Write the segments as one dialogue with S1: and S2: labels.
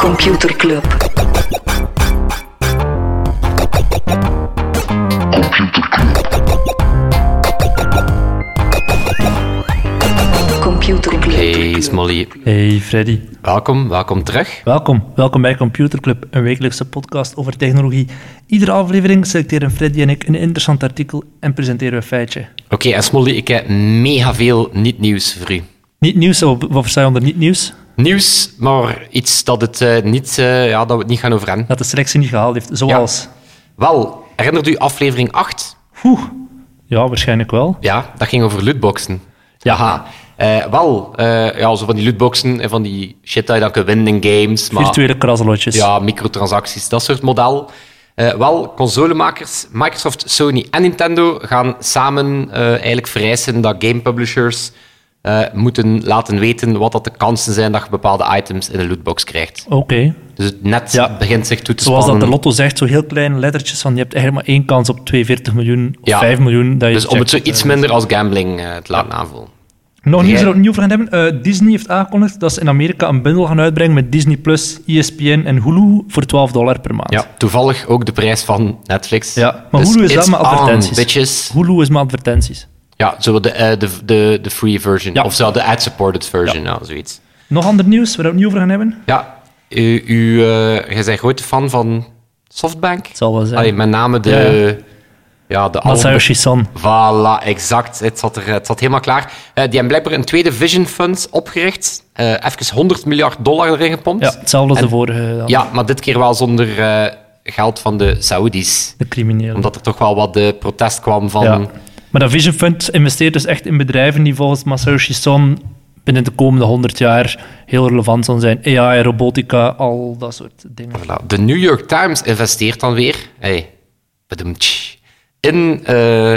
S1: Computer Club. Computer Club.
S2: Hey Smolly,
S3: Hey Freddy,
S2: welkom, welkom terug.
S3: welkom. Welkom bij Computer Club, een wekelijkse podcast over technologie. Iedere aflevering selecteren Freddy en ik een interessant artikel en presenteren we een feitje.
S2: Oké, en Smolly, ik heb mega veel niet-nieuws voor u.
S3: Niet nieuws, wat wat versta je onder niet nieuws?
S2: Nieuws, maar iets dat, het, eh, niet, eh, ja, dat we het niet gaan over hebben.
S3: Dat de selectie niet gehaald heeft, zoals...
S2: Wel, herinnert u aflevering 8?
S3: Oeh, ja, waarschijnlijk wel.
S2: Ja, dat ging over lootboxen.
S3: Ja.
S2: Aha. Eh, wel, eh, ja, zo van die lootboxen en van die shit dat je dan kunt winnen in games. Maar...
S3: Virtuele krasselotjes.
S2: Ja, microtransacties, dat soort model. Eh, wel, consolemakers, Microsoft, Sony en Nintendo gaan samen eh, eigenlijk vereisen dat game publishers eh, moeten laten weten wat dat de kansen zijn dat je bepaalde items in een lootbox krijgt.
S3: Oké,
S2: Dus het net
S3: Ja.
S2: begint zich toe te
S3: zoals dat
S2: spannen.
S3: de lotto zegt, zo heel kleine lettertjes van je hebt eigenlijk maar één kans op 42 miljoen of
S2: Ja.
S3: 5 miljoen. Dat je
S2: dus om het zo
S3: checkt.
S2: iets minder als gambling eh, te laten aanvoelen.
S3: Nog nieuws
S2: Jij-
S3: er opnieuw voor gaan hebben. Eh, Disney heeft aangekondigd dat ze in Amerika een bundel gaan uitbrengen met Disney+, Plus, E ESPN en Hulu voor 12 dollar per maand.
S2: Ja, toevallig ook de prijs van Netflix.
S3: Ja, maar
S2: Dus
S3: Hulu is
S2: it's
S3: wel maar
S2: on,
S3: advertenties.
S2: bitches.
S3: Hulu is maar advertenties.
S2: Ja, zo de, eh, de, de, de free version.
S3: Ja.
S2: Of zo de ad-supported version, ja. zoiets.
S3: Nog ander nieuws waar we opnieuw voor gaan hebben?
S2: Ja, u, u, eh jij bent grote fan van Softbank. Het
S3: zal wel zijn.
S2: Allee, met name de...
S3: Ja,
S2: Ja,
S3: ja.
S2: de album-
S3: Masayoshi-san.
S2: Voilà, exact. Het zat, er, het zat helemaal klaar. Eh, die hebben blijkbaar een tweede Vision Fund opgericht. Eh even 100 miljard dollar erin gepompt.
S3: Ja, hetzelfde als
S2: En-
S3: de vorige. dan.
S2: Ja, maar dit keer wel zonder eh, geld van de Saoedi's.
S3: De criminelen.
S2: Omdat er toch wel wat de protest kwam van...
S3: Ja. Maar dat Vision Fund investeert dus echt in bedrijven die volgens Masayoshi-san binnen de komende 100 jaar heel relevant zullen zijn. AI, robotica, al dat soort dingen.
S2: Voilà. De New York Times investeert dan weer hey, bedoemtsch, in eh,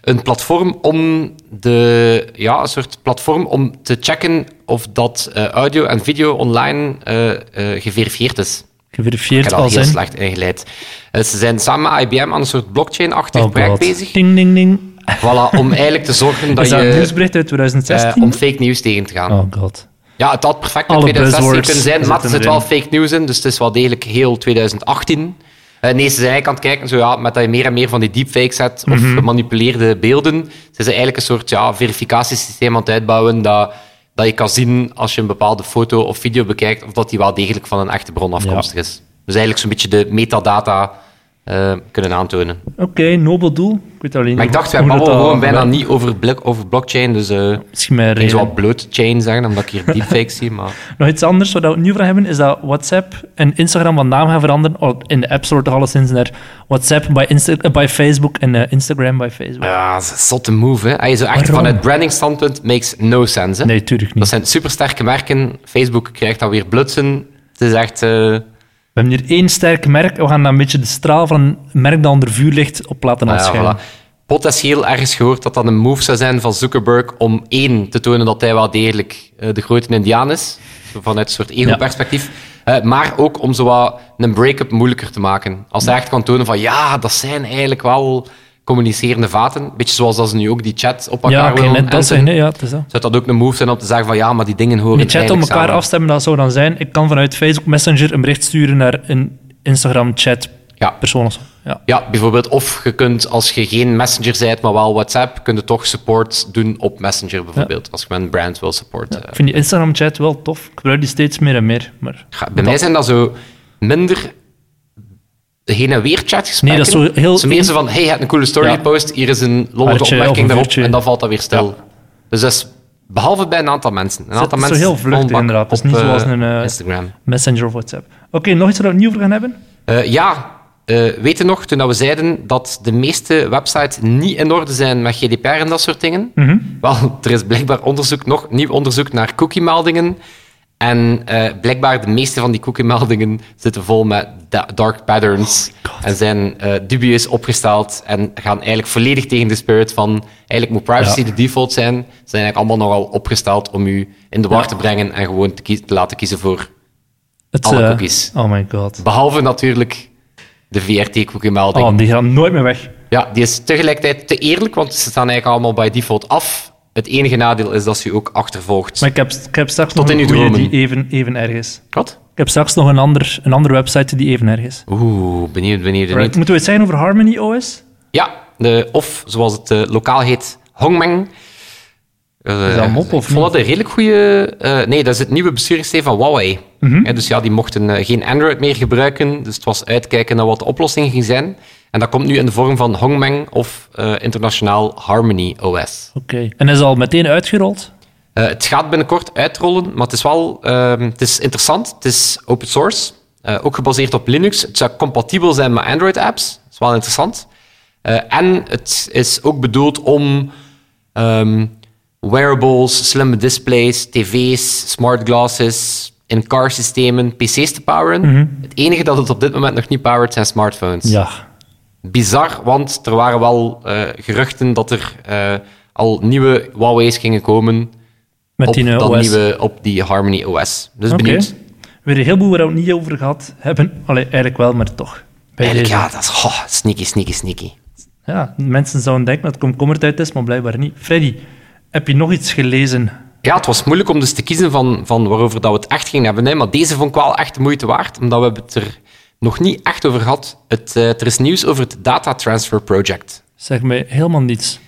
S2: een platform om de ja, een soort platform om te checken of dat eh, audio en video online eh, eh, geverifieerd is. Ik
S3: Geverifieerd
S2: heb al
S3: al
S2: heel
S3: zijn.
S2: slecht ingeleid. Eh, ze zijn samen met IBM aan een soort blockchain-achtig
S3: Oh
S2: project
S3: god.
S2: bezig.
S3: Ding, ding, ding.
S2: Voilà, om eigenlijk te zorgen dat
S3: Is dat een
S2: je
S3: nieuwsbericht uit
S2: eh
S3: 2016?
S2: om fake nieuws tegen te gaan.
S3: Oh god.
S2: Ja, het had perfect in
S3: Alle
S2: 2016
S3: buzzwords
S2: kunnen zijn, maar er
S3: zitten
S2: zit wel
S3: erin.
S2: fake news in, dus het is wel degelijk heel 2018. Eh, nee, ze zijn eigenlijk aan het kijken, zo, ja, met dat je meer en meer van die deepfakes hebt of
S3: Mhm.
S2: gemanipuleerde beelden, ze zijn eigenlijk een soort ja, verificatiesysteem aan het uitbouwen dat, dat je kan zien als je een bepaalde foto of video bekijkt of dat die wel degelijk van een echte bron afkomstig is. Dus eigenlijk zo'n beetje de metadata eh, kunnen aantonen.
S3: Oké, nobel doel. Ik weet alleen
S2: Maar ik
S3: niet
S2: dacht, we
S3: Mhm. hoe dat
S2: babbelen gewoon
S3: dan
S2: bijna
S3: werkt.
S2: niet over, blik- over blockchain, dus eh
S3: Misschien mijn
S2: ik zou
S3: reden.
S2: wel blootchain zeggen, omdat ik hier deepfakes zie, maar...
S3: Nog iets anders waar we het nieuw van hebben, is dat WhatsApp en Instagram van naam gaan veranderen. Of in de App Store toch alleszins naar WhatsApp bij, Insta- eh, bij Facebook en eh, Instagram bij Facebook.
S2: Ja, dat is een zotte move. Hè. Hij zo echt
S3: Waarom?
S2: vanuit branding standpunt makes no sense. Hè.
S3: nee, tuurlijk
S2: Dat
S3: niet.
S2: zijn supersterke merken. Facebook krijgt dan weer blutsen. Het is echt... eh,
S3: We hebben hier één sterk merk. We gaan dan een beetje de straal van een merk dat onder vuur ligt op laten
S2: nou ja,
S3: afschijnen.
S2: voilà. Potentieel ergens gehoord dat dat een move zou zijn van Zuckerberg om één te tonen dat hij wel degelijk eh, de grote indiaan is. Zo Vanuit een soort ego-perspectief. Eh, maar ook om zo wat een break-up moeilijker te maken. Als hij echt kan tonen van ja, dat zijn eigenlijk wel communicerende vaten. Beetje zoals dat ze nu ook die chat op elkaar
S3: Ja, oké,
S2: willen
S3: net dat
S2: enten.
S3: zeggen. hè. Ja, het is dat.
S2: Zou dat ook een move zijn om te zeggen van ja, maar die dingen horen
S3: De chat op
S2: eigenlijk
S3: elkaar
S2: samen.
S3: afstemmen, dat zou dan zijn. Ik kan vanuit Facebook Messenger een bericht sturen naar een Instagram-chat.
S2: Ja.
S3: Persoon of zo. Ja.
S2: Ja, bijvoorbeeld. Of je kunt, als je geen messenger bent, maar wel WhatsApp, kun je toch support doen op messenger bijvoorbeeld. Als je met een brand wil supporten.
S3: Ik vind die Instagram-chat wel tof. Ik gebruik die steeds meer en meer. Maar
S2: Ga- Bij mij zijn dat zo minder heen en weer chat gesprekken.
S3: Nee, dat is zo heel-
S2: Ze meer zo van, hey, je hebt een coole story
S3: Ja.
S2: gepost, hier is een lollige
S3: Hartje of een
S2: opmerking daarop,
S3: vuurtje.
S2: en dan valt dat weer stil. Dus dat is, behalve bij een aantal mensen. Een aantal
S3: is zo
S2: mensen
S3: heel vluchtig,
S2: onbak
S3: inderdaad. Het is
S2: op,
S3: niet
S2: eh,
S3: zoals een, eh,
S2: Instagram.
S3: Messenger of WhatsApp. Oké, nog iets waar we nieuw voor gaan hebben?
S2: Eh, ja, eh weet je nog, toen dat we zeiden dat de meeste websites niet in orde zijn met GDPR en dat soort dingen? Wel, er is blijkbaar onderzoek, nog nieuw onderzoek naar cookie-meldingen. En eh, blijkbaar de meeste van die cookie-meldingen zitten vol met da- dark patterns. en zijn eh, dubieus opgesteld en gaan eigenlijk volledig tegen de spirit van... Eigenlijk moet privacy
S3: Ja.
S2: de default zijn. Ze zijn eigenlijk allemaal nogal opgesteld om u in de war te brengen en gewoon te, kie- te laten kiezen voor
S3: Het,
S2: Alle
S3: eh,
S2: cookies.
S3: Oh my god.
S2: Behalve natuurlijk de VRT-cookiemelding.
S3: Oh, die gaan nooit meer weg.
S2: Ja, die is tegelijkertijd te eerlijk, want ze staan eigenlijk allemaal bij default af. Het enige nadeel is dat ze je ook achtervolgt.
S3: Maar ik heb, ik heb straks
S2: in
S3: nog
S2: uw
S3: een goeie
S2: dromen.
S3: die even, even erg is.
S2: Wat?
S3: Ik heb straks nog een, ander, een andere website die even erg is.
S2: Oeh, benieuwd, benieuwd,
S3: Right.
S2: benieuwd.
S3: Moeten we het zeggen over Harmony OS?
S2: Ja, de, of zoals het eh, lokaal heet, Hongmeng. Eh,
S3: Is dat een mop of
S2: Ik vond
S3: niet?
S2: dat een redelijk goede... nee, dat is het nieuwe besturingssysteem van Huawei.
S3: Mhm.
S2: Eh, dus ja, die mochten eh, geen Android meer gebruiken. Dus het was uitkijken naar wat de oplossing ging zijn. En dat komt nu in de vorm van Hongmeng of eh, internationaal Harmony OS.
S3: Oké. En is al meteen uitgerold?
S2: Eh, het gaat binnenkort uitrollen, maar het is wel ehm, het is interessant. Het is open source, eh, ook gebaseerd op Linux. Het zou compatibel zijn met Android-apps. Dat is wel interessant. Eh, en het is ook bedoeld om ehm, wearables, slimme displays, tv's, smart glasses, in-car systemen, pc's te poweren. Het enige dat het op dit moment nog niet powert zijn smartphones.
S3: Ja.
S2: Bizar, want er waren wel eh, geruchten dat er eh, al nieuwe Huawei's gingen komen
S3: Met
S2: op,
S3: die eh,
S2: dat
S3: OS.
S2: nieuwe, op die Harmony OS. Dus
S3: Oké.
S2: benieuwd.
S3: Weer een heleboel waar we het niet over gehad hebben. Allee, eigenlijk wel, maar toch. Bij
S2: Eigenlijk,
S3: deze.
S2: ja, dat is goh, sneaky, sneaky, sneaky.
S3: Ja, mensen zouden denken dat het komkommertijd is, maar blijkbaar niet. Freddy, heb je nog iets gelezen?
S2: Ja, het was moeilijk om dus te kiezen van, van waarover dat we het echt gingen hebben. Hè. Maar deze vond ik wel echt de moeite waard, omdat we hebben het er nog niet echt over gehad. Het, eh, er is nieuws over het Data Transfer Project.
S3: Zeg mij helemaal niets.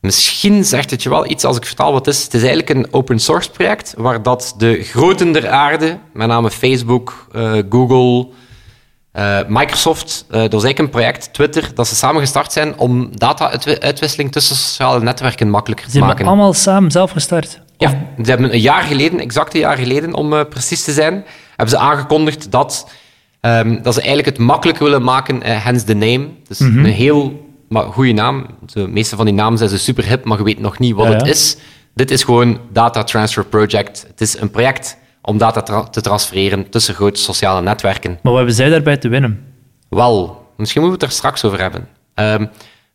S2: Misschien zegt het je wel iets als ik vertaal wat het is. Het is eigenlijk een open source project waar dat de groten der aarde, met name Facebook, eh, Google, eh, Microsoft, eh, dat is eigenlijk een project, Twitter, dat ze samen gestart zijn om data-uitwisseling tussen sociale netwerken makkelijker
S3: Ze
S2: te
S3: hebben
S2: maken.
S3: allemaal samen zelf gestart.
S2: Ja, ze hebben een jaar geleden, exact een jaar geleden om eh, precies te zijn, hebben ze aangekondigd dat, ehm, dat ze eigenlijk het makkelijk willen maken, eh, hence the name. Dus
S3: Mhm.
S2: een heel maar, goede naam. De meeste van die namen zijn ze super hip, maar je weet nog niet wat
S3: Ja,
S2: het
S3: ja.
S2: is. Dit is gewoon Data Transfer Project. Het is een project om data tra- te transfereren tussen grote sociale netwerken.
S3: Maar wat hebben zij daarbij te winnen?
S2: Wel, misschien moeten we het er straks over hebben. Ehm,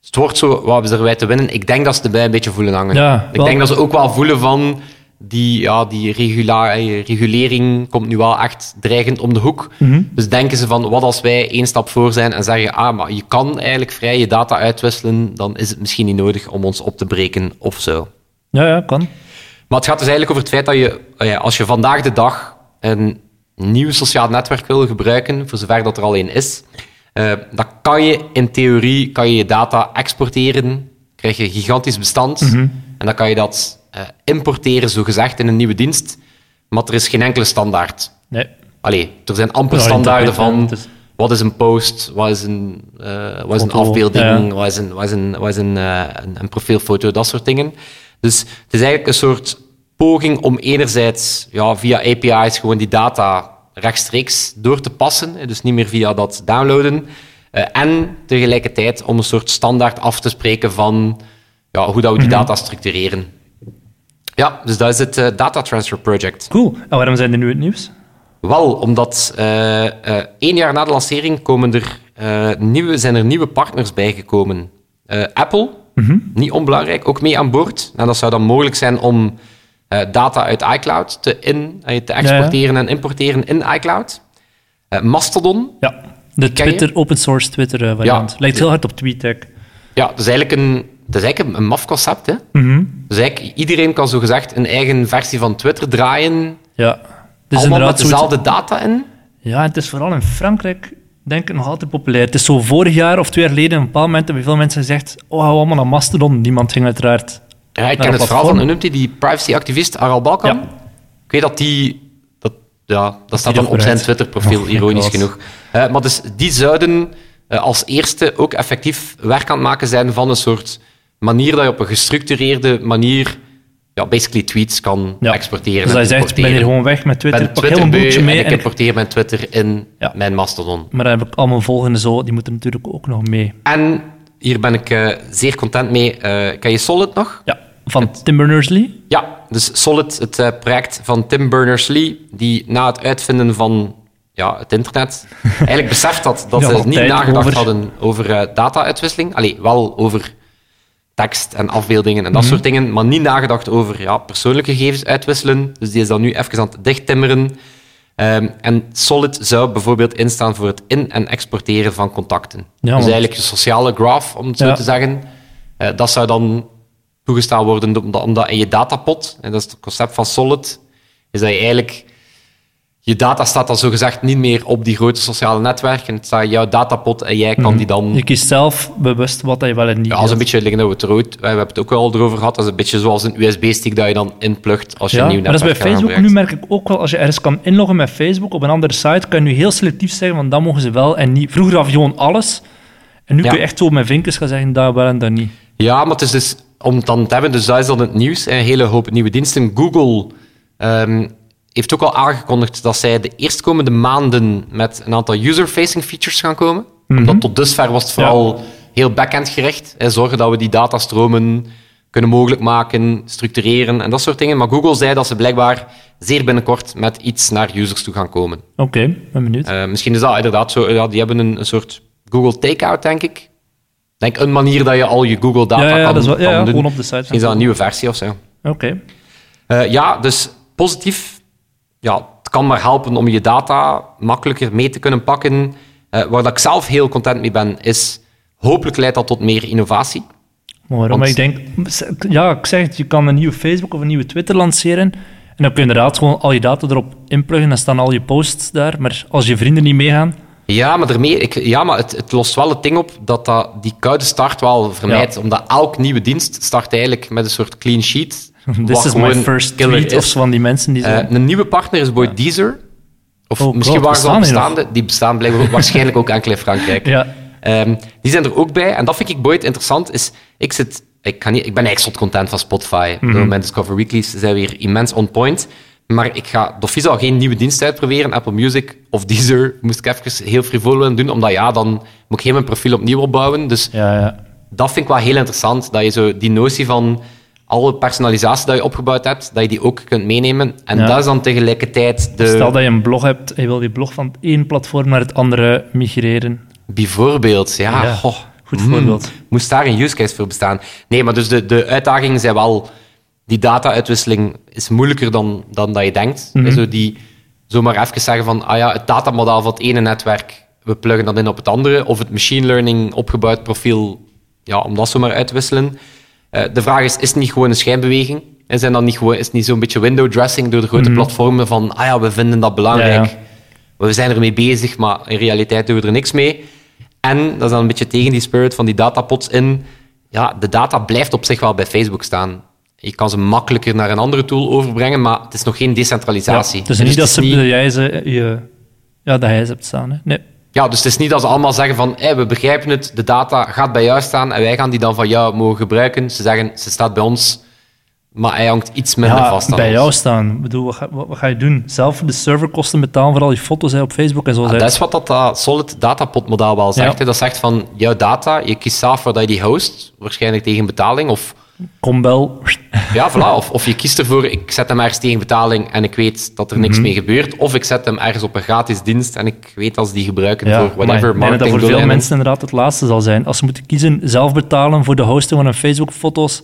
S2: het wordt zo, wat hebben ze erbij te winnen? Ik denk dat ze erbij een beetje voelen hangen.
S3: Ja,
S2: ik
S3: wel.
S2: denk dat ze ook wel voelen van die, ja, die regula- eh, regulering komt nu wel echt dreigend om de hoek.
S3: Mhm.
S2: Dus denken ze van, wat als wij één stap voor zijn en zeggen, ah, maar je kan eigenlijk vrij je data uitwisselen, dan is het misschien niet nodig om ons op te breken of zo.
S3: Ja, ja, kan.
S2: Maar het gaat dus eigenlijk over het feit dat je, eh, ja, als je vandaag de dag een nieuw sociaal netwerk wil gebruiken, voor zover dat er al één is, eh, dan kan je in theorie kan je, je data exporteren, krijg je een gigantisch bestand, en dan kan je dat eh, importeren, zogezegd, in een nieuwe dienst. Maar er is geen enkele standaard.
S3: Nee.
S2: Allee, er zijn amper
S3: Ja,
S2: standaarden
S3: internet,
S2: van
S3: ja, het is-
S2: wat is een post, wat is een, eh, wat is een
S3: Foto,
S2: afbeelding,
S3: ja.
S2: wat is, een, wat is, een, wat is een, eh, een, een profielfoto, dat soort dingen. Dus het is eigenlijk een soort poging om enerzijds ja, via API's gewoon die data rechtstreeks door te passen, eh, dus niet meer via dat downloaden, eh, en tegelijkertijd om een soort standaard af te spreken van ja, hoe dat we die
S3: Mhm.
S2: data structureren. Ja, dus dat is het eh, Data Transfer Project.
S3: Cool. En waarom zijn er nu het nieuws?
S2: Wel, omdat eh, eh, één jaar na de lancering komen er, eh, nieuwe, zijn er nieuwe partners bijgekomen. Eh, Apple,
S3: Mhm.
S2: niet onbelangrijk, ook mee aan boord. En dat zou dan mogelijk zijn om eh, data uit iCloud te, in, eh, te exporteren en importeren in iCloud. Eh, Mastodon,
S3: Ja. De
S2: Ken je?
S3: Twitter, open source Twitter eh, variant.
S2: Ja.
S3: Lijkt heel hard op TweetDeck.
S2: Ja, dat is eigenlijk een, dat is eigenlijk een, een maf concept. Hè?
S3: Mhm.
S2: Dus eigenlijk, iedereen kan zogezegd een eigen versie van Twitter draaien.
S3: Ja. Dus
S2: allemaal met
S3: inderdaad zoiets-
S2: dezelfde data in.
S3: Ja, het is vooral in Frankrijk, denk ik, nog altijd populair. Het is zo vorig jaar of twee jaar geleden, een bepaald moment hebben veel mensen gezegd, oh, gaan we allemaal naar Mastodon. Niemand ging uiteraard.
S2: Ja, ik
S3: naar
S2: ken
S3: een
S2: het verhaal van,
S3: platform.
S2: hoe noemt hij die privacyactivist Aral Balkan?
S3: Ja.
S2: Ik weet dat die... Dat, ja, dat, staat
S3: die
S2: dan op zijn
S3: vooruit.
S2: Twitter-profiel,
S3: Oh,
S2: ironisch genoeg.
S3: inderdaad.
S2: Eh, maar dus die zouden eh, als eerste ook effectief werk aan het maken zijn van een soort manier dat je op een gestructureerde manier ja, basically tweets kan
S3: Ja.
S2: exporteren
S3: Dus
S2: en
S3: hij zegt, ik ben hier
S2: importeren.
S3: gewoon weg met
S2: Ik
S3: Twitter,
S2: ben
S3: pak heel een
S2: Twitter-beu
S3: boeltje mee.
S2: en ik
S3: en ik-
S2: importeer mijn Twitter in
S3: Ja.
S2: mijn Mastodon.
S3: Maar dan heb ik al mijn volgende zo, die moeten natuurlijk ook nog mee.
S2: En hier ben ik eh, zeer content mee. Eh, ken je Solid nog?
S3: Ja, van Tim Berners-Lee.
S2: Ja, dus Solid, het eh, project van Tim Berners-Lee, die na het uitvinden van ja, het internet eigenlijk beseft dat, dat
S3: Ja,
S2: ze niet
S3: tijd
S2: nagedacht
S3: over.
S2: hadden over eh, data-uitwisseling. Allee, wel over tekst en afbeeldingen en
S3: Mhm.
S2: dat soort dingen, maar niet nagedacht over ja, persoonlijke gegevens uitwisselen. Dus die is dan nu even aan het dichttimmeren. Ehm, en Solid zou bijvoorbeeld instaan voor het in- en exporteren van contacten. dus
S3: want-
S2: eigenlijk je sociale graph, om het zo
S3: Ja.
S2: te zeggen. Eh, dat zou dan toegestaan worden omdat, omdat in je datapot, en dat is het concept van Solid, is dat je eigenlijk je data staat dan zogezegd niet meer op die grote sociale netwerken. Het staat in jouw datapot en jij
S3: Mhm.
S2: kan die dan...
S3: Je kiest zelf bewust wat je wel en niet
S2: Ja, als een
S3: wilt.
S2: beetje liggen over het rood. We hebben het ook al erover gehad. Dat is een beetje zoals een USB-stick dat je dan inplugt als je
S3: Ja,
S2: een nieuw
S3: maar dat is bij
S2: netwerk aan
S3: Facebook. Nu
S2: gebruikt.
S3: merk ik ook wel, als je ergens kan inloggen met Facebook op een andere site, kan je nu heel selectief zeggen van dat mogen ze wel en niet. Vroeger gaf je gewoon alles. En nu
S2: Ja.
S3: kun je echt zo met vinkjes gaan zeggen dat wel en dat niet.
S2: Ja, maar het is dus, om het dan te hebben, dus dat is dan het nieuws. Een hele hoop nieuwe diensten. Google ehm, heeft ook al aangekondigd dat zij de eerstkomende maanden met een aantal user-facing features gaan komen. Omdat tot dusver was het vooral heel back-end gericht. Hè, zorgen dat we die datastromen kunnen mogelijk maken, structureren en dat soort dingen. Maar Google zei dat ze blijkbaar zeer binnenkort met iets naar users toe gaan komen.
S3: Oké, ben benieuwd.
S2: Eh, misschien is dat inderdaad zo. Ja, die hebben een, een soort Google Takeout, denk ik. Denk een manier dat je al je Google data
S3: Ja, ja,
S2: kan,
S3: dat is wel- ja,
S2: kan
S3: ja,
S2: doen.
S3: gewoon op de site.
S2: Misschien is dat een nieuwe versie of zo.
S3: Oké.
S2: Eh, ja, dus positief. Ja, het kan maar helpen om je data makkelijker mee te kunnen pakken. Eh, waar dat ik zelf heel content mee ben, is hopelijk leidt dat tot meer innovatie.
S3: Maar waarom?
S2: Want-
S3: Maar ik denk, ja, ik zeg het, je kan een nieuwe Facebook of een nieuwe Twitter lanceren. En dan kun je inderdaad gewoon al je data erop inpluggen. Dan staan al je posts daar. Maar als je vrienden niet meegaan,
S2: Ja, maar, daarmee, ik, ja, maar het, het lost wel het ding op dat, dat die koude start wel vermijdt. Omdat elk nieuwe dienst start eigenlijk met een soort clean sheet.
S3: this
S2: wat
S3: is my
S2: gewoon
S3: first
S2: killer
S3: tweet of
S2: is.
S3: zo van die mensen die
S2: Eh,
S3: zijn.
S2: een nieuwe partner is Boy Deezer. Of
S3: Oh
S2: misschien
S3: God,
S2: waren ze al
S3: bestaan die nog?
S2: bestaande. Die bestaan blijkbaar ook- waarschijnlijk ook enkel in Frankrijk.
S3: ja,
S2: Ehm, die zijn er ook bij. En dat vind ik boeit interessant. Is, ik, zit, ik, kan niet, ik ben extra content van Spotify.
S3: Mhm.
S2: Ik bedoel, Mijn Discover Weeklies zijn weer immens on point. Maar ik ga Dofis al geen nieuwe dienst uitproberen. Apple Music of Deezer moest ik even heel frivol aan doen. Omdat ja, dan moet ik heel mijn profiel opnieuw opbouwen. Dus
S3: ja, ja.
S2: dat vind ik wel heel interessant. Dat je zo die notie van alle personalisatie die je opgebouwd hebt, dat je die ook kunt meenemen. En
S3: Ja.
S2: dat is dan tegelijkertijd de...
S3: Stel dat je een blog hebt en je wil die blog van het één platform naar het andere migreren.
S2: Bijvoorbeeld, ja.
S3: Ja,
S2: Ah, goh, Mm.
S3: goed voorbeeld.
S2: Hmm. moest daar een use case voor bestaan? Nee, maar dus de, de uitdagingen zijn wel... Die data-uitwisseling is moeilijker dan, dan dat je denkt.
S3: Hmm.
S2: Zo die zomaar even zeggen van, ah ja, het datamodel van het ene netwerk, we pluggen dat in op het andere. Of het machine learning opgebouwd profiel, ja, om dat zomaar uit te wisselen. Eh, de vraag is, is het niet gewoon een schijnbeweging? En zijn dat niet gewoon, is het niet zo'n beetje window dressing door de grote platformen van, ah ja, we vinden dat belangrijk.
S3: Hmm. Ja, ja.
S2: Maar We zijn ermee bezig, maar in realiteit doen we er niks mee. En dat is dan een beetje tegen die spirit van die datapots in. Ja, de data blijft op zich wel bij Facebook staan. Je kan ze makkelijker naar een andere tool overbrengen, maar het is nog geen decentralisatie.
S3: dus niet dat,
S2: het
S3: ze,
S2: is
S3: dat jij ze, je, ja, dat jij ze hebt staan. Hè. Nee.
S2: ja, dus het is niet dat ze allemaal zeggen van hé, we begrijpen het, de data gaat bij jou staan en wij gaan die dan van jou mogen gebruiken. Ze zeggen, ze staat bij ons, maar hij hangt iets minder
S3: Ja,
S2: vast aan
S3: bij
S2: ons.
S3: jou staan. Ik bedoel, wat ga, wat, wat ga je doen? Zelf de serverkosten betalen voor al die foto's hè, op Facebook en zo.
S2: Ah,
S3: zei-
S2: dat is wat dat ah, solid datapot model wel zegt.
S3: Ja.
S2: hè. Dat zegt van jouw data, je kiest zelf waar dat je die host, waarschijnlijk tegen betaling. Of,
S3: Kom wel.
S2: ja, voilà, of, of je kiest ervoor, ik zet hem ergens tegen betaling en ik weet dat er
S3: Mhm.
S2: niks mee gebeurt. Of ik zet hem ergens op een gratis dienst en ik weet als die gebruiken
S3: Ja,
S2: voor
S3: maar ik
S2: whatever
S3: denk dat dat voor veel
S2: marketingdoeleinden.
S3: mensen inderdaad het laatste zal zijn. Als ze moeten kiezen, zelf betalen voor de hosting van hun Facebook-foto's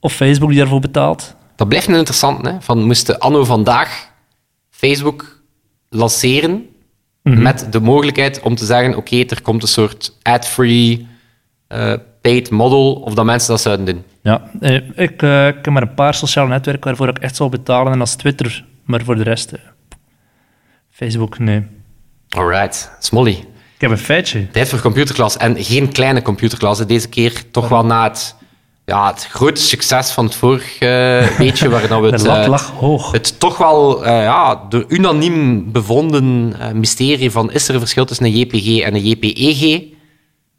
S3: of Facebook die daarvoor betaalt.
S2: Dat blijft een interessant, hè? Van moesten anno vandaag Facebook lanceren
S3: Mhm.
S2: met de mogelijkheid om te zeggen: oké, er komt een soort ad-free eh, paid model, of dat mensen dat zouden doen.
S3: Ja, eh, ik, eh, ik heb maar een paar sociale netwerken waarvoor ik echt zou betalen, en dat is Twitter. Maar voor de rest, eh, Facebook, nee.
S2: Alright, Smolly.
S3: Ik heb een feitje.
S2: Tijd voor computerklas en geen kleine computerklas. hè. Deze keer toch wel na het, ja, het grote succes van het vorige eh, weetje, waar dan we het,
S3: De lat
S2: eh,
S3: lag hoog.
S2: het toch wel eh, ja, door unaniem bevonden eh, mysterie van is er een verschil tussen een JPG en een JPEG,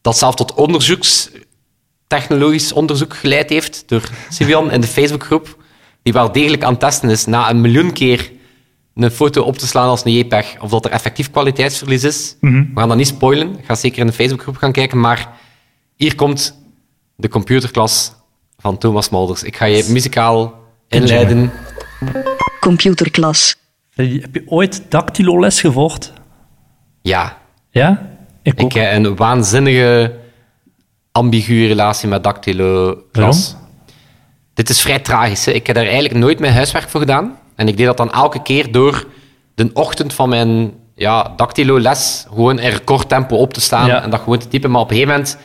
S2: dat zelf tot onderzoeks, technologisch onderzoek geleid heeft door Sivian in de Facebookgroep, die wel degelijk aan het testen is na een miljoen keer een foto op te slaan als een JPEG, of dat er effectief kwaliteitsverlies is. We gaan dat niet spoilen, ik ga zeker in de Facebookgroep gaan kijken, maar hier komt de computerklas van Thomas Molders. Ik ga je muzikaal inleiden.
S1: Computerklas.
S3: Freddy, Eh, Heb je ooit dactylo-les gevolgd?
S2: Ja,
S3: Ja? Ik
S2: ik
S3: ook.
S2: heb een waanzinnige ambiguë relatie met dactylo klas. Dit is vrij tragisch. Hè? Ik heb daar eigenlijk nooit mijn huiswerk voor gedaan. En ik deed dat dan elke keer door de ochtend van mijn ja, dactylo-les gewoon in recordtempo op te staan
S3: Ja.
S2: en dat gewoon te typen. Maar op een gegeven moment,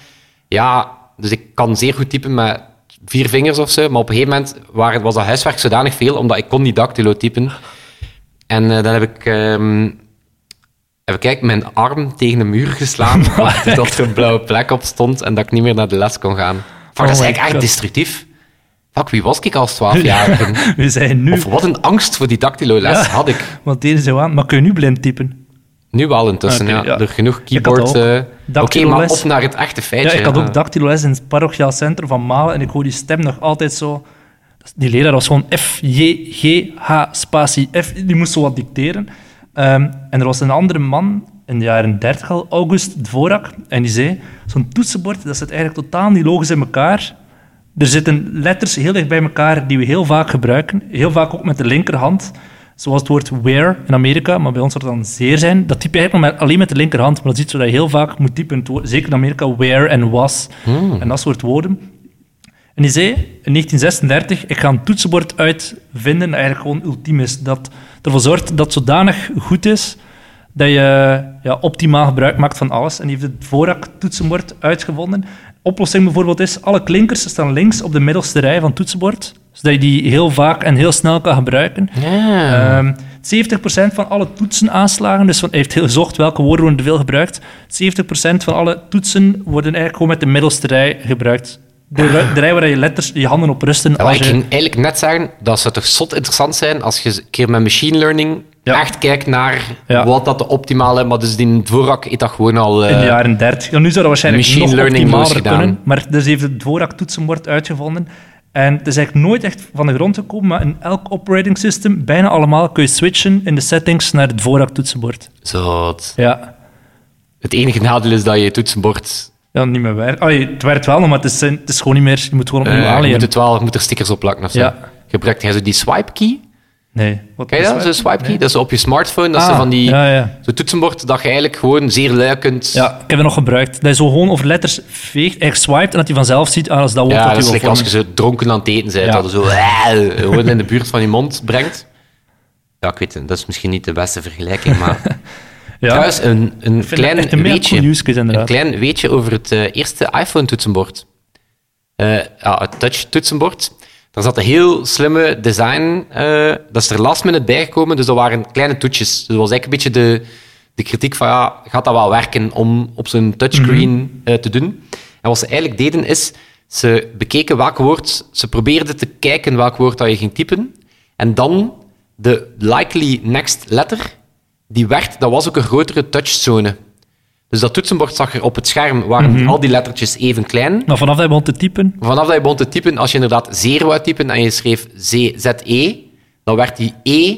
S2: ja, dus ik kan zeer goed typen met vier vingers of zo. Maar op een gegeven moment waren- was dat huiswerk zodanig veel, omdat ik kon niet dactylo typen. En eh, dan heb ik, ehm heb ik eigenlijk mijn arm tegen een muur geslaan, dat er een blauwe plek op stond en dat ik niet meer naar de les kon gaan. Fuck,
S3: Oh
S2: dat is
S3: my
S2: eigenlijk echt
S3: God.
S2: destructief. Fuck, wie was ik als 12-jarige?
S3: We zijn nu...
S2: Of wat een angst voor die dactylo-les
S3: Ja,
S2: had ik.
S3: Want deze zijn aan. Maar kun je nu blind typen?
S2: Nu wel intussen,
S3: Oké,
S2: ja.
S3: ja.
S2: Er genoeg
S3: Ik had dat
S2: keyboard...
S3: ook.
S2: eh, Oké, maar
S3: Dactyloles.
S2: op naar het echte
S3: Ja,
S2: feitje.
S3: ik had
S2: hè.
S3: ook dactyloles in het parochiaal centrum van Malen en ik hoor die stem nog altijd zo... Die leraar was gewoon F, J, G, H, spatie, F. Die moest zo wat dicteren. Ehm, en er was een andere man in de jaren 30 al, August Dvorak, en die zei, zo'n toetsenbord, dat zit eigenlijk totaal niet logisch in elkaar. Er zitten letters heel dicht bij elkaar die we heel vaak gebruiken. Heel vaak ook met de linkerhand. Zoals het woord where in Amerika, maar bij ons zou dat dan zeer zijn. Dat typ je eigenlijk maar met- alleen met de linkerhand. Maar dat is iets wat je heel vaak moet typen. Het woord- Zeker in Amerika, where en was. En dat soort woorden. En die zei in 1936, ik ga een toetsenbord uitvinden dat eigenlijk gewoon ultiem is. Dat ervoor zorgt dat het zodanig goed is dat je ja, optimaal gebruik maakt van alles. En die heeft het Vorak-toetsenbord uitgevonden. Oplossing bijvoorbeeld is, alle klinkers staan links op de middelste rij van het toetsenbord, zodat je die heel vaak en heel snel kan gebruiken.
S2: Ja.
S3: Ehm 70% van alle toetsenaanslagen, dus van, hij heeft heel gezocht welke woorden worden er veel gebruikt. 70% van alle toetsen worden eigenlijk gewoon met de middelste rij gebruikt. De, ru- de rij waar je letters, je handen op rusten.
S2: Ja, maar
S3: Als
S2: ik
S3: je,
S2: ging eigenlijk net zeggen, dat zou toch zot interessant zijn als je eens een keer met machine learning
S3: Ja.
S2: echt kijkt naar
S3: Ja.
S2: wat dat de optimale... Maar dus die Dvorak eet dat gewoon al... eh,
S3: in de jaren 30. Ja, nu zou dat waarschijnlijk
S2: machine
S3: nog
S2: learning
S3: optimaler
S2: losgedaan.
S3: kunnen. Maar dus heeft het Dvorak-toetsenbord uitgevonden. En het is eigenlijk nooit echt van de grond gekomen, maar in elk operating system, bijna allemaal, kun je switchen in de settings naar het Dvorak-toetsenbord.
S2: Zot.
S3: Ja.
S2: Het enige nadeel is dat je toetsenbord...
S3: Ja, niet meer werkt. Oh, het werkt wel nog, maar het is, het is gewoon niet meer. Je moet gewoon opnieuw
S2: eh je,
S3: aanleren.
S2: moet het wel, je moet er stickers op plakken of zo.
S3: Ja.
S2: Gebruikt jij zo die swipe key?
S3: Nee. Wat
S2: Ken je
S3: is
S2: dat?
S3: waar?
S2: Zo'n swipe key? Dat is op je smartphone. Dat is
S3: Ah,
S2: van die...
S3: ja, ja.
S2: Zo'n toetsenbord dat je eigenlijk gewoon zeer lui kunt...
S3: Ja, ik heb het nog gebruikt. Dat je zo gewoon over letters veegt, echt swiped, en dat hij vanzelf ziet, ah, dat is dat woord
S2: Ja,
S3: dat
S2: dat is
S3: u wil
S2: lekker als je
S3: vormen.
S2: ze dronken aan het eten bent,
S3: Ja.
S2: dat je zo eh, gewoon in de buurt van je mond brengt. Ja, ik weet het, dat is misschien niet de beste vergelijking, maar...
S3: Ja.
S2: Trouwens, een, een,
S3: vind
S2: klein
S3: het echt een meer
S2: weetje,
S3: cool use case, inderdaad.
S2: een klein weetje over het eh, eerste iPhone-toetsenbord. Eh, ja, het touch-toetsenbord. Daar zat een heel slimme design, eh, dat is er last minute bijgekomen, dus dat waren kleine toetjes. Dus dat was eigenlijk een beetje de, de kritiek van, ja, gaat dat wel werken om op zo'n touchscreen eh, te doen? En wat ze eigenlijk deden is, ze bekeken welk woord, ze probeerden te kijken welk woord dat je ging typen, en dan de likely next letter, die werd, dat was ook een grotere touchzone. Dus dat toetsenbord zag er op het scherm, waren al die lettertjes even klein.
S3: Maar vanaf dat je begon te typen,
S2: Vanaf dat je begon te typen, als je inderdaad zeer wou typen en je schreef Z- ZE, dan werd die E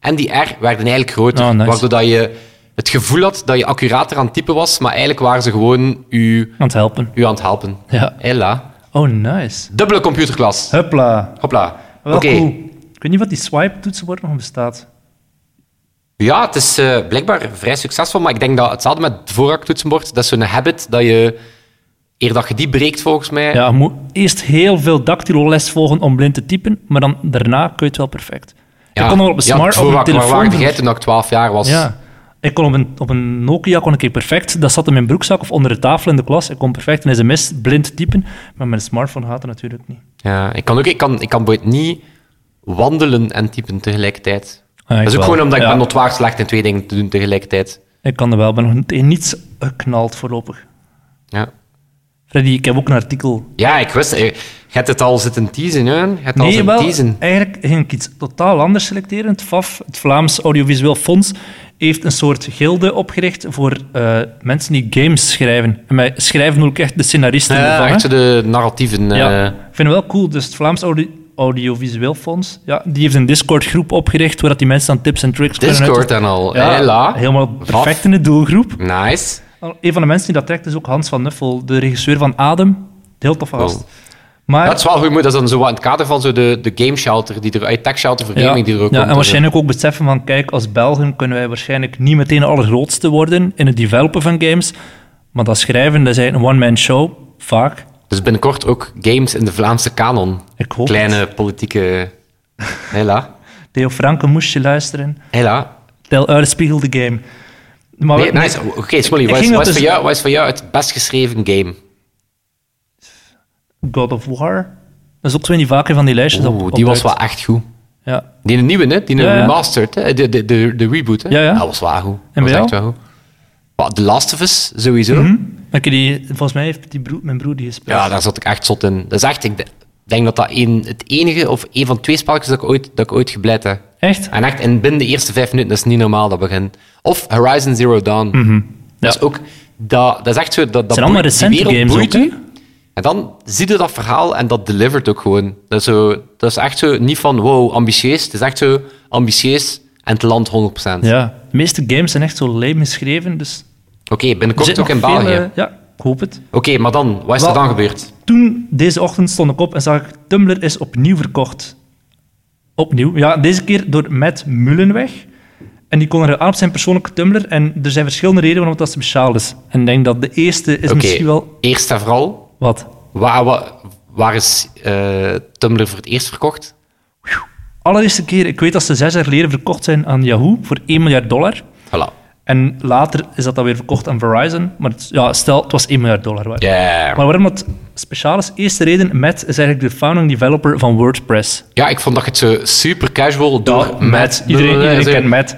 S2: en die R werden eigenlijk groter.
S3: Oh, nice.
S2: Waardoor dat je het gevoel had dat je accurater aan het typen was, maar eigenlijk waren ze gewoon u,
S3: aan het helpen.
S2: u aan het helpen.
S3: Ja.
S2: Hela.
S3: Oh, nice.
S2: Dubbele computerklas.
S3: Hupla.
S2: Hopla.
S3: Wel
S2: Oké.
S3: cool. Ik weet niet wat die swipe-toetsenbord nog bestaat.
S2: Ja, het is eh, blijkbaar vrij succesvol, maar ik denk dat hetzelfde met het voorraaktoetsenbord. Dat is zo'n habit dat je, eer dat je die breekt volgens mij,
S3: Ja, je moet eerst heel veel dactyloles volgen om blind te typen, maar dan daarna kun je het wel perfect. ik kon nog op een smart, op
S2: waar,
S3: mijn telefoon...
S2: Waar waren jij toen ik 12 jaar was?
S3: Ja. Ik kon op een, op een Nokia kon ik perfect, dat zat in mijn broekzak of onder de tafel in de klas, ik kon perfect een sms blind typen, maar mijn smartphone gaat dat natuurlijk niet.
S2: Ja, ik kan ook, ik kan, ik kan bijvoorbeeld niet wandelen en typen tegelijkertijd.
S3: Ah, ik
S2: dat is ook
S3: wel.
S2: gewoon omdat ik
S3: Ja.
S2: ben notwaar slecht in twee dingen te doen tegelijkertijd.
S3: Ik kan er wel, ben nog tegen niets geknald voorlopig.
S2: Ja,
S3: Freddy, ik heb ook een artikel.
S2: ja ik wist... eh, Je hebt het al zitten teasen, hè? Je hebt al
S3: Nee,
S2: zitten
S3: wel,
S2: teasen.
S3: eigenlijk ging ik iets totaal anders selecteren. Het VAF, het Vlaams Audiovisueel Fonds, heeft een soort gilde opgericht voor eh, mensen die games schrijven. En mij schrijven ook echt de scenaristen ervan,
S2: Ja,
S3: hè.
S2: echt zo de narratieven. eh,
S3: Ja,
S2: Ja.
S3: ik vind het wel cool. Dus het Vlaams Audi- Audiovisueel Fonds, ja, die heeft een Discord-groep opgericht waar dat die mensen dan tips en tricks
S2: Discord
S3: kunnen
S2: en al.
S3: uit- Ja,
S2: Hela.
S3: helemaal perfect in de doelgroep.
S2: Nice.
S3: Een van de mensen die dat trekt is ook Hans van Nuffel, de regisseur van Adem. Heel tof gast.
S2: Wow.
S3: Maar,
S2: Oh. Dat is wel goed, maar dat is dan zo wat in het kader van zo de, de game shelter, die er, eh, tech shelter voor gaming die er ook
S3: ja,
S2: komt. Dus, eh,
S3: en waarschijnlijk ook beseffen van, kijk, als Belgen kunnen wij waarschijnlijk niet meteen de allergrootste worden in het developen van games. Maar dat schrijven, dat is eigenlijk een one-man show, vaak.
S2: Dus binnenkort ook games in de Vlaamse kanon.
S3: Ik hoop
S2: Kleine
S3: het.
S2: politieke... Hela.
S3: Theo Franken moest je luisteren.
S2: Hela.
S3: Tel Spiegel de game. Maar
S2: Nee, nice. Oh, Oké, Smolly,
S3: Ik
S2: wat, is-
S3: ging
S2: wat
S3: dat
S2: is
S3: dus-
S2: voor jou- wat is voor jou het best geschreven game?
S3: God of War. Dat is ook zo in die vaker van die lijstjes. op-
S2: Oeh,
S3: op
S2: die was
S3: uit.
S2: wel echt goed.
S3: Ja.
S2: Die nieuwe, hè? Die
S3: Ja, ja.
S2: remastered, hè? De, de, de, de reboot, hè?
S3: Ja, ja.
S2: Dat was waar goed.
S3: En
S2: Dat was
S3: bij
S2: echt
S3: jou? Mhm.
S2: wel goed. Maar The Last of Us, sowieso.
S3: Maar ik heb die, volgens mij heeft die broer, mijn broer die gespeeld.
S2: Ja, daar zat ik echt zot in. Dat is echt, ik de- denk dat dat een, het enige of een van twee spelletjes dat ik ooit, dat ik ooit gebleid heb.
S3: Echt?
S2: En echt, en binnen de eerste vijf minuten, dat is niet normaal, dat begin. Of Horizon Zero Dawn. Dat is ook... Dat, dat is echt zo... Dat, dat
S3: Mhm. zijn allemaal
S2: boeit- die
S3: recente
S2: wereld
S3: games
S2: boeit
S3: ook,
S2: u. En dan zie je dat verhaal en dat delivert ook gewoon. Dat is, zo, dat is echt zo niet van, wow, ambitieus. Het is echt zo ambitieus en het land 100%. Oké,
S3: Ja. De meeste games zijn echt zo lame geschreven, dus... Er
S2: binnenkort
S3: zit
S2: ook
S3: nog
S2: in
S3: veel,
S2: België.
S3: eh, ja, ik hoop het.
S2: Oké, maar dan, wat is er
S3: Wel-
S2: dan gebeurd?
S3: Toen, deze ochtend, stond ik op en zag ik Tumblr is opnieuw verkocht. Opnieuw. Ja, deze keer door Matt Mullenweg. En die kon er aan op zijn persoonlijke Tumblr. En er zijn verschillende redenen waarom dat speciaal is. En ik denk dat de eerste is
S2: Oké,
S3: misschien wel...
S2: eerst en vooral,
S3: Wat?
S2: Waar, waar, waar is eh, Tumblr voor het eerst verkocht?
S3: Allereerste keer, ik weet dat ze zes jaar geleden verkocht zijn aan Yahoo voor 1 miljard dollar.
S2: Voilà.
S3: En later is dat dan weer verkocht aan Verizon. Maar het- ja, stel, het was 1 miljard dollar waard.
S2: Ja.
S3: Maar waarom dat speciaal is? Eerste reden, Matt is eigenlijk de founding developer van WordPress.
S2: Ja, ik vond dat je het zo super casual door
S3: Matt, Iedereen, iedereen
S2: eh,
S3: kent Matt.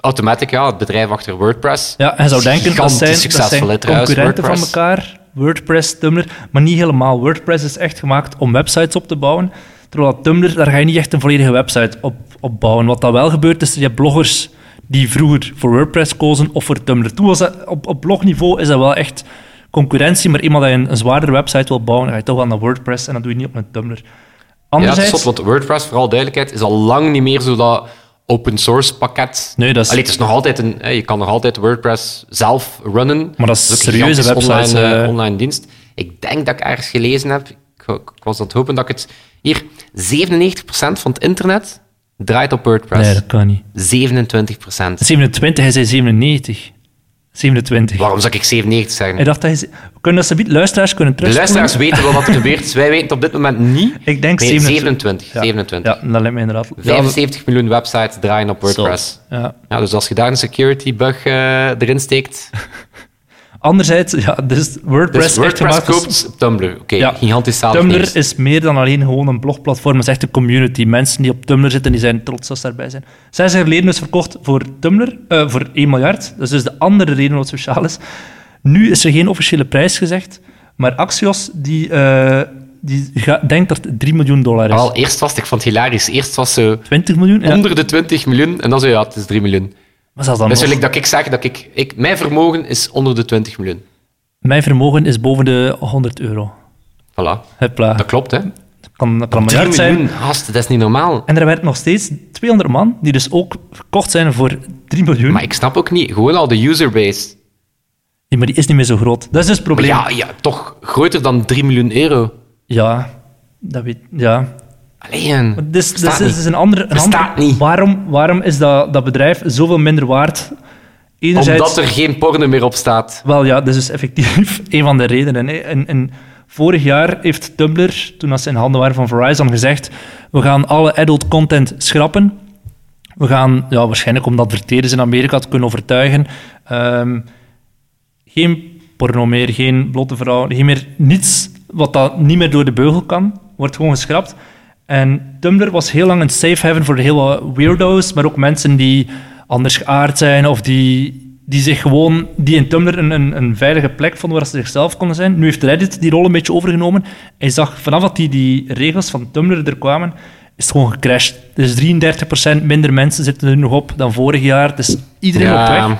S2: Automatic, ja, het bedrijf achter WordPress.
S3: Ja, en zou denken, dat
S2: Gigantisch
S3: zijn, dat
S2: succesvol,
S3: zijn
S2: hè, trouwens,
S3: concurrenten van
S2: WordPress.
S3: elkaar. WordPress, Tumblr, maar niet helemaal. WordPress is echt gemaakt om websites op te bouwen. Terwijl dat Tumblr, daar ga je niet echt een volledige website op, op bouwen. Wat dat wel gebeurt, is je hebt bloggers die vroeger voor WordPress kozen of voor Tumblr. Toen was dat, op, op blogniveau is dat wel echt concurrentie, maar iemand die een, een zwaardere website wil bouwen, dan ga je toch wel naar WordPress en dat doe je niet op een Tumblr.
S2: Ja, dat is
S3: Anderzijds,
S2: zot, want WordPress, vooral duidelijkheid, is al lang niet meer zo dat open source pakket.
S3: Nee, dat is-
S2: Allee, het is nog altijd een, hè, je kan nog altijd WordPress zelf runnen.
S3: Maar dat is
S2: ook een
S3: serieuze
S2: gigantisch
S3: websites,
S2: Online, eh,
S3: eh.
S2: online dienst. Ik denk dat ik ergens gelezen heb, ik, ik was aan het hopen dat ik het... Hier, 97% van het internet draait op WordPress.
S3: nee, dat kan niet.
S2: 27
S3: 27, hij zei 97. 27.
S2: Waarom zou ik 97
S3: Hij
S2: zeggen?
S3: dacht dat hij... Kunnen dat ze niet- luisteraars kunnen
S2: De
S3: terugspoelen?
S2: luisteraars weten wel wat er gebeurt is. Wij weten het op dit moment niet.
S3: Ik denk
S2: Nee,
S3: 27.
S2: 27.
S3: Ja.
S2: 27.
S3: Ja, dat lijkt me inderdaad.
S2: 75 miljoen websites draaien op WordPress.
S3: Ja.
S2: Ja, dus als je daar een security bug eh, erin steekt.
S3: Anderzijds, ja, dus WordPress,
S2: Dus
S3: echt
S2: WordPress
S3: gemaakt als-
S2: koopt Tumblr. Oké,
S3: Ja.
S2: gigantisch zalig nieuws.
S3: Tumblr is meer dan alleen gewoon een blogplatform. Het is echt een community. Mensen die op Tumblr zitten, die zijn trots als ze daarbij zijn. Zes jaar geleden is verkocht voor Tumblr, eh, voor 1 miljard. Dat is dus de andere reden wat speciaal is. Nu is er geen officiële prijs gezegd, maar Axios die, eh, die ga- denkt dat het 3 miljoen dollar is.
S2: Wel, eerst was het- ik vond het hilarisch. Eerst was ze
S3: 20 miljoen? Ja.
S2: onder de 20 miljoen en dan zei ja, het is 3 miljoen.
S3: Maar zelfs dan
S2: Dus
S3: nog.
S2: wil ik dat ik zeg dat ik, ik. Mijn vermogen is onder de 20 miljoen.
S3: Mijn vermogen is boven de 100 euro.
S2: Voilà.
S3: Hupla.
S2: Dat klopt, hè?
S3: kan, dat kan een
S2: 3
S3: miljard zijn.
S2: miljoen, gast, dat is niet normaal.
S3: En er werd nog steeds 200 man, die dus ook verkocht zijn voor 3 miljoen.
S2: Maar ik snap ook niet, gewoon al de userbase.
S3: Ja, maar die is niet meer zo groot. Dat is dus het
S2: Maar
S3: probleem.
S2: ja, ja, toch groter dan 3 miljoen euro.
S3: Ja, dat weet ja.
S2: Alleen.
S3: Maar Dit is, dit is,
S2: bestaat
S3: dit
S2: niet.
S3: is een andere... Een
S2: Bestaat
S3: andere-
S2: niet.
S3: Waarom, waarom is dat, dat bedrijf zoveel minder waard? Enerzijds...
S2: Omdat er geen porno meer op staat.
S3: Wel ja, dat is dus effectief een van de redenen. hè. En, en vorig jaar heeft Tumblr, toen dat ze in handen waren van Verizon, gezegd: we gaan alle adult content schrappen. We gaan, ja, waarschijnlijk om de adverteerders in Amerika te kunnen overtuigen, ehm, geen porno meer, geen blote vrouwen, geen meer niets wat dat niet meer door de beugel kan, wordt gewoon geschrapt. En Tumblr was heel lang een safe haven voor heel wat weirdo's, maar ook mensen die anders geaard zijn of die, die zich gewoon, die in Tumblr een, een, een veilige plek vonden waar ze zichzelf konden zijn. Nu heeft Reddit die rol een beetje overgenomen. Hij zag vanaf dat die, die regels van Tumblr er kwamen, is het gewoon gecrashed. Dus 33% minder mensen zitten er nog op dan vorig jaar. Dus iedereen op weg.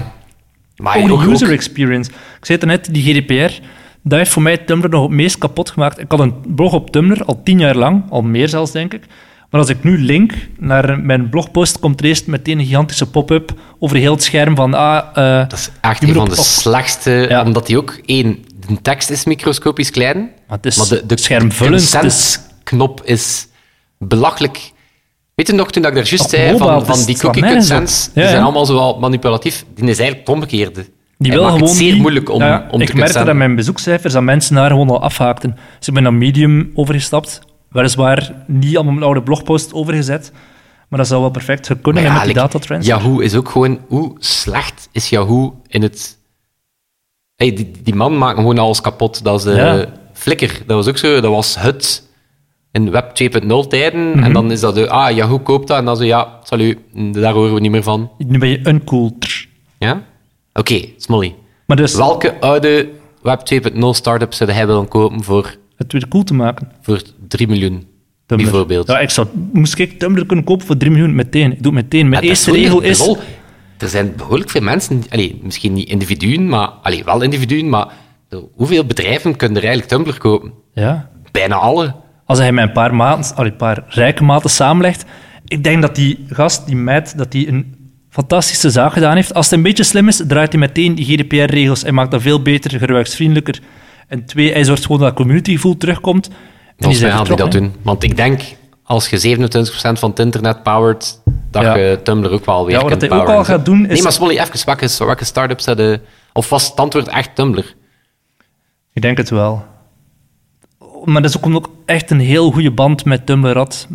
S2: Maar
S3: Over
S2: ook,
S3: de user
S2: ook-
S3: experience. Ik zei het net, die GDPR, dat heeft voor mij Tumblr nog het meest kapot gemaakt. Ik had een blog op Tumblr, al tien jaar lang, al meer zelfs, denk ik. Maar als ik nu link naar mijn blogpost, komt er eerst meteen een gigantische pop-up over heel het scherm van... Ah, eh,
S2: dat is echt
S3: Je
S2: een
S3: moet
S2: van de
S3: op- op-
S2: slechtste.
S3: Ja.
S2: Omdat die ook, één, de tekst is microscopisch klein.
S3: Maar het is
S2: de, de
S3: schermvullend, het is-
S2: consensknop is belachelijk. Weet je nog, toen ik daar juist
S3: Op
S2: zei,
S3: mobile,
S2: van,
S3: het is-
S2: van die
S3: het slaat
S2: cookie
S3: nergens op.
S2: consents, die
S3: Ja, ja.
S2: zijn allemaal zo wel manipulatief. Die is eigenlijk het omgekeerde.
S3: Die
S2: Hij
S3: wil
S2: maakt
S3: gewoon
S2: het zeer
S3: niet-
S2: moeilijk om,
S3: Ja,
S2: om te
S3: Ik merkte dat
S2: consenten.
S3: aan mijn bezoekcijfers dat mensen daar gewoon al afhaakten. Dus ik ben naar Medium overgestapt. Weliswaar niet allemaal mijn oude blogpost overgezet. Maar dat zou wel perfect kunnen
S2: Maar
S3: met
S2: ja,
S3: die
S2: like,
S3: datatrends.
S2: Yahoo is ook gewoon... Hoe slecht is Yahoo in het... Hey, die, die man maakt gewoon alles kapot. Dat is de
S3: Ja.
S2: Flickr. Dat was ook zo. Dat was het in web 2.0 tijden.
S3: Mhm.
S2: En dan is dat, de, ah, Yahoo koopt dat. En dan zo, ja, salu, daar horen we niet meer van.
S3: Nu ben je uncool. Trr.
S2: Ja? Oké, Smolly.
S3: Maar dus,
S2: Welke oude web 2.0 startup zouden hij willen kopen voor,
S3: het weer cool te maken.
S2: voor 3 miljoen?
S3: Tumblr.
S2: Bijvoorbeeld.
S3: Ja, ik zou, moest ik Tumblr kunnen kopen voor 3 miljoen meteen. Ik doe het meteen. Mijn
S2: Ja, Ah, dat
S3: eerste
S2: gewoon
S3: regel
S2: de
S3: is...
S2: rol. Er zijn behoorlijk veel mensen, die- allee, misschien niet individuen, maar allee, wel individuen, maar zo, hoeveel bedrijven kunnen er eigenlijk Tumblr kopen?
S3: Ja.
S2: Bijna alle.
S3: Als hij met een paar, maten, allee, een paar rijke maten samenlegt... Ik denk dat die gast, die meid, dat die een fantastische zaak gedaan heeft. Als het een beetje slim is, draait hij meteen die GDPR-regels en maakt dat veel beter, gebruiksvriendelijker. En twee, hij zorgt gewoon dat community gevoel terugkomt. En die
S2: Volgens
S3: zijn
S2: mij gaan die dat
S3: vertrokken.
S2: doen. Want ik denk, als je 27% van het internet powert, dat
S3: Ja.
S2: je Tumblr ook wel weer
S3: Ja, wat
S2: kunt
S3: hij ook
S2: poweren.
S3: al gaat doen, is-
S2: Nee, maar Smolly, even, welke, welke start-ups hadden... Of was het antwoord echt Tumblr?
S3: Ik denk het wel. Maar dat is ook omdat ik echt een heel goede band met Tumblr had.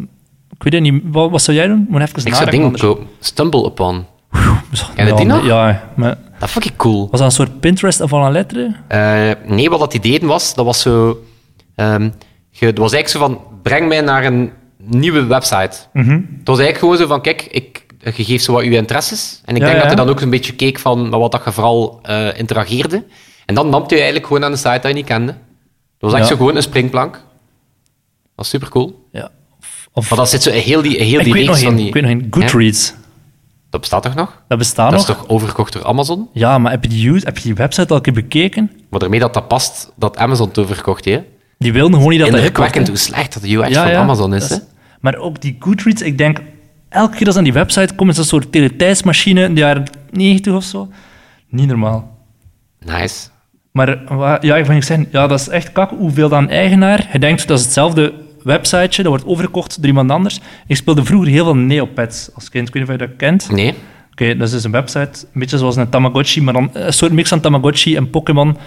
S3: Ik weet het niet, wat, wat zou jij doen? Moet even
S2: Ik zou
S3: nadenken
S2: dingen
S3: anders.
S2: kopen. StumbleUpon.
S3: Zo,
S2: Ken je
S3: ja,
S2: die
S3: maar-
S2: nog?
S3: Ja, maar
S2: Dat vond ik cool.
S3: was dat een soort Pinterest van een letter?
S2: Eh, nee, wat dat die deden was, dat was zo... ehm, je- het was eigenlijk zo van, breng mij naar een nieuwe website.
S3: Mhm.
S2: Het was eigenlijk gewoon zo van, kijk, ik, je geeft zo wat je interesses. En ik
S3: Ja,
S2: denk
S3: ja.
S2: dat hij dan ook een beetje keek van naar wat dat je vooral eh, interageerde. En dan nam je eigenlijk gewoon aan de site dat je niet kende. Het was echt
S3: Ja.
S2: zo gewoon een springplank. Dat was super cool.
S3: Ja. Of, of-
S2: Maar dat zit zo in heel die, in heel
S3: ik,
S2: die
S3: weet nog
S2: reeks van
S3: geen,
S2: die...
S3: ik weet nog geen.
S2: Ja?
S3: Goodreads.
S2: Dat bestaat toch nog?
S3: Dat bestaat
S2: dat
S3: nog.
S2: is toch overgekocht door Amazon?
S3: Ja, maar heb je, die use, heb je die website al een keer bekeken?
S2: Maar daarmee dat dat past, dat Amazon het overkocht heeft.
S3: Die wilden gewoon niet dat dat
S2: Indrukwekkend hoe
S3: hip wordt,
S2: slecht dat de UX
S3: hè. Ja,
S2: van
S3: ja.
S2: Amazon is.
S3: Dat
S2: hè?
S3: Maar ook die Goodreads, ik denk... Elke keer als aan die website komt, is dat een soort teletijdsmachine in de jaren 90 of zo. Niet normaal.
S2: Nice.
S3: Maar wa- ja, ik wil niet zeggen, ja, dat is echt kak. Hoeveel dan eigenaar? Je denkt dat is hetzelfde websiteje, dat wordt overgekocht door iemand anders. Ik speelde vroeger heel veel Neopets als kind. Ik weet niet of je dat kent. Oké,
S2: Nee.
S3: dat is dus een website, een beetje zoals een Tamagotchi, maar dan een soort mix van Tamagotchi en Pokémon,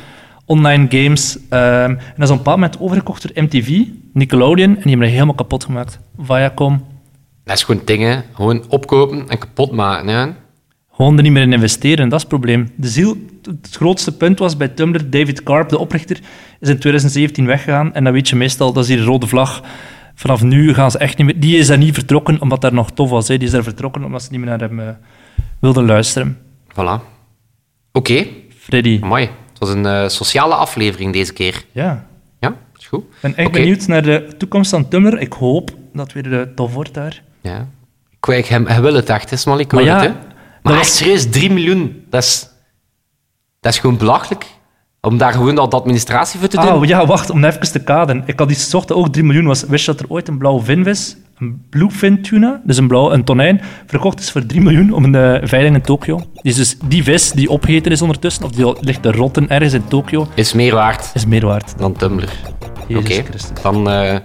S3: online games. Ehm, en dat is op een bepaald moment overgekocht door MTV, Nickelodeon, en die hebben dat helemaal kapot gemaakt. Viacom,
S2: Dat is gewoon dingen. Gewoon opkopen en kapot maken. Hè?
S3: Gewoon er niet meer in investeren, dat is het probleem. De ziel, het grootste punt was bij Tumblr, David Karp, de oprichter, is in 2017 weggegaan. En dan weet je meestal, dat is hier een rode vlag. Vanaf nu gaan ze echt niet meer... Die is daar niet vertrokken omdat dat nog tof was. Hè. Die is daar vertrokken omdat ze niet meer naar hem eh, wilden luisteren.
S2: Voilà. Oké,
S3: Freddy,
S2: mooi. Het was een eh, sociale aflevering deze keer.
S3: ja.
S2: Ja, is goed.
S3: Ik ben echt
S2: Oké.
S3: benieuwd naar de toekomst van Tumblr. Ik hoop dat het weer eh, tof wordt daar.
S2: Ja. Ik, wou- ik, hem- hij wil het echt, hè, Smally? Ik
S3: Maar
S2: hoor
S3: ja,
S2: het, hè.
S3: dat
S2: Maar
S3: was-
S2: echt serieus, 3 miljoen. Dat is, dat is gewoon belachelijk. Om daar gewoon al de administratie voor te doen.
S3: Ah, ja, wacht, om even te kaden. Ik had die ochtend ook 3 miljoen. Was, wist je dat er ooit een blauwe vinvis, een bluefin tuna, dus een, blauw, een tonijn, verkocht is voor 3 miljoen om een eh, veiling in Tokio? Die, is dus, die vis die opgegeten is ondertussen, of die al ligt te rotten ergens in Tokio,
S2: Is meer waard
S3: is meer waard.
S2: dan Tumblr. Oké,
S3: Jezus Christus.
S2: dan eh,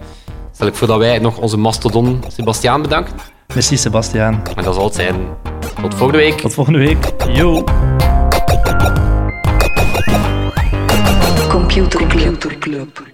S2: stel ik voor dat wij nog onze mastodon Sebastiaan bedanken.
S3: Merci, Sebastiaan.
S2: En dat zal het zijn. Tot volgende week.
S3: Tot volgende week. Yo.
S1: Computer Club. Computer Club.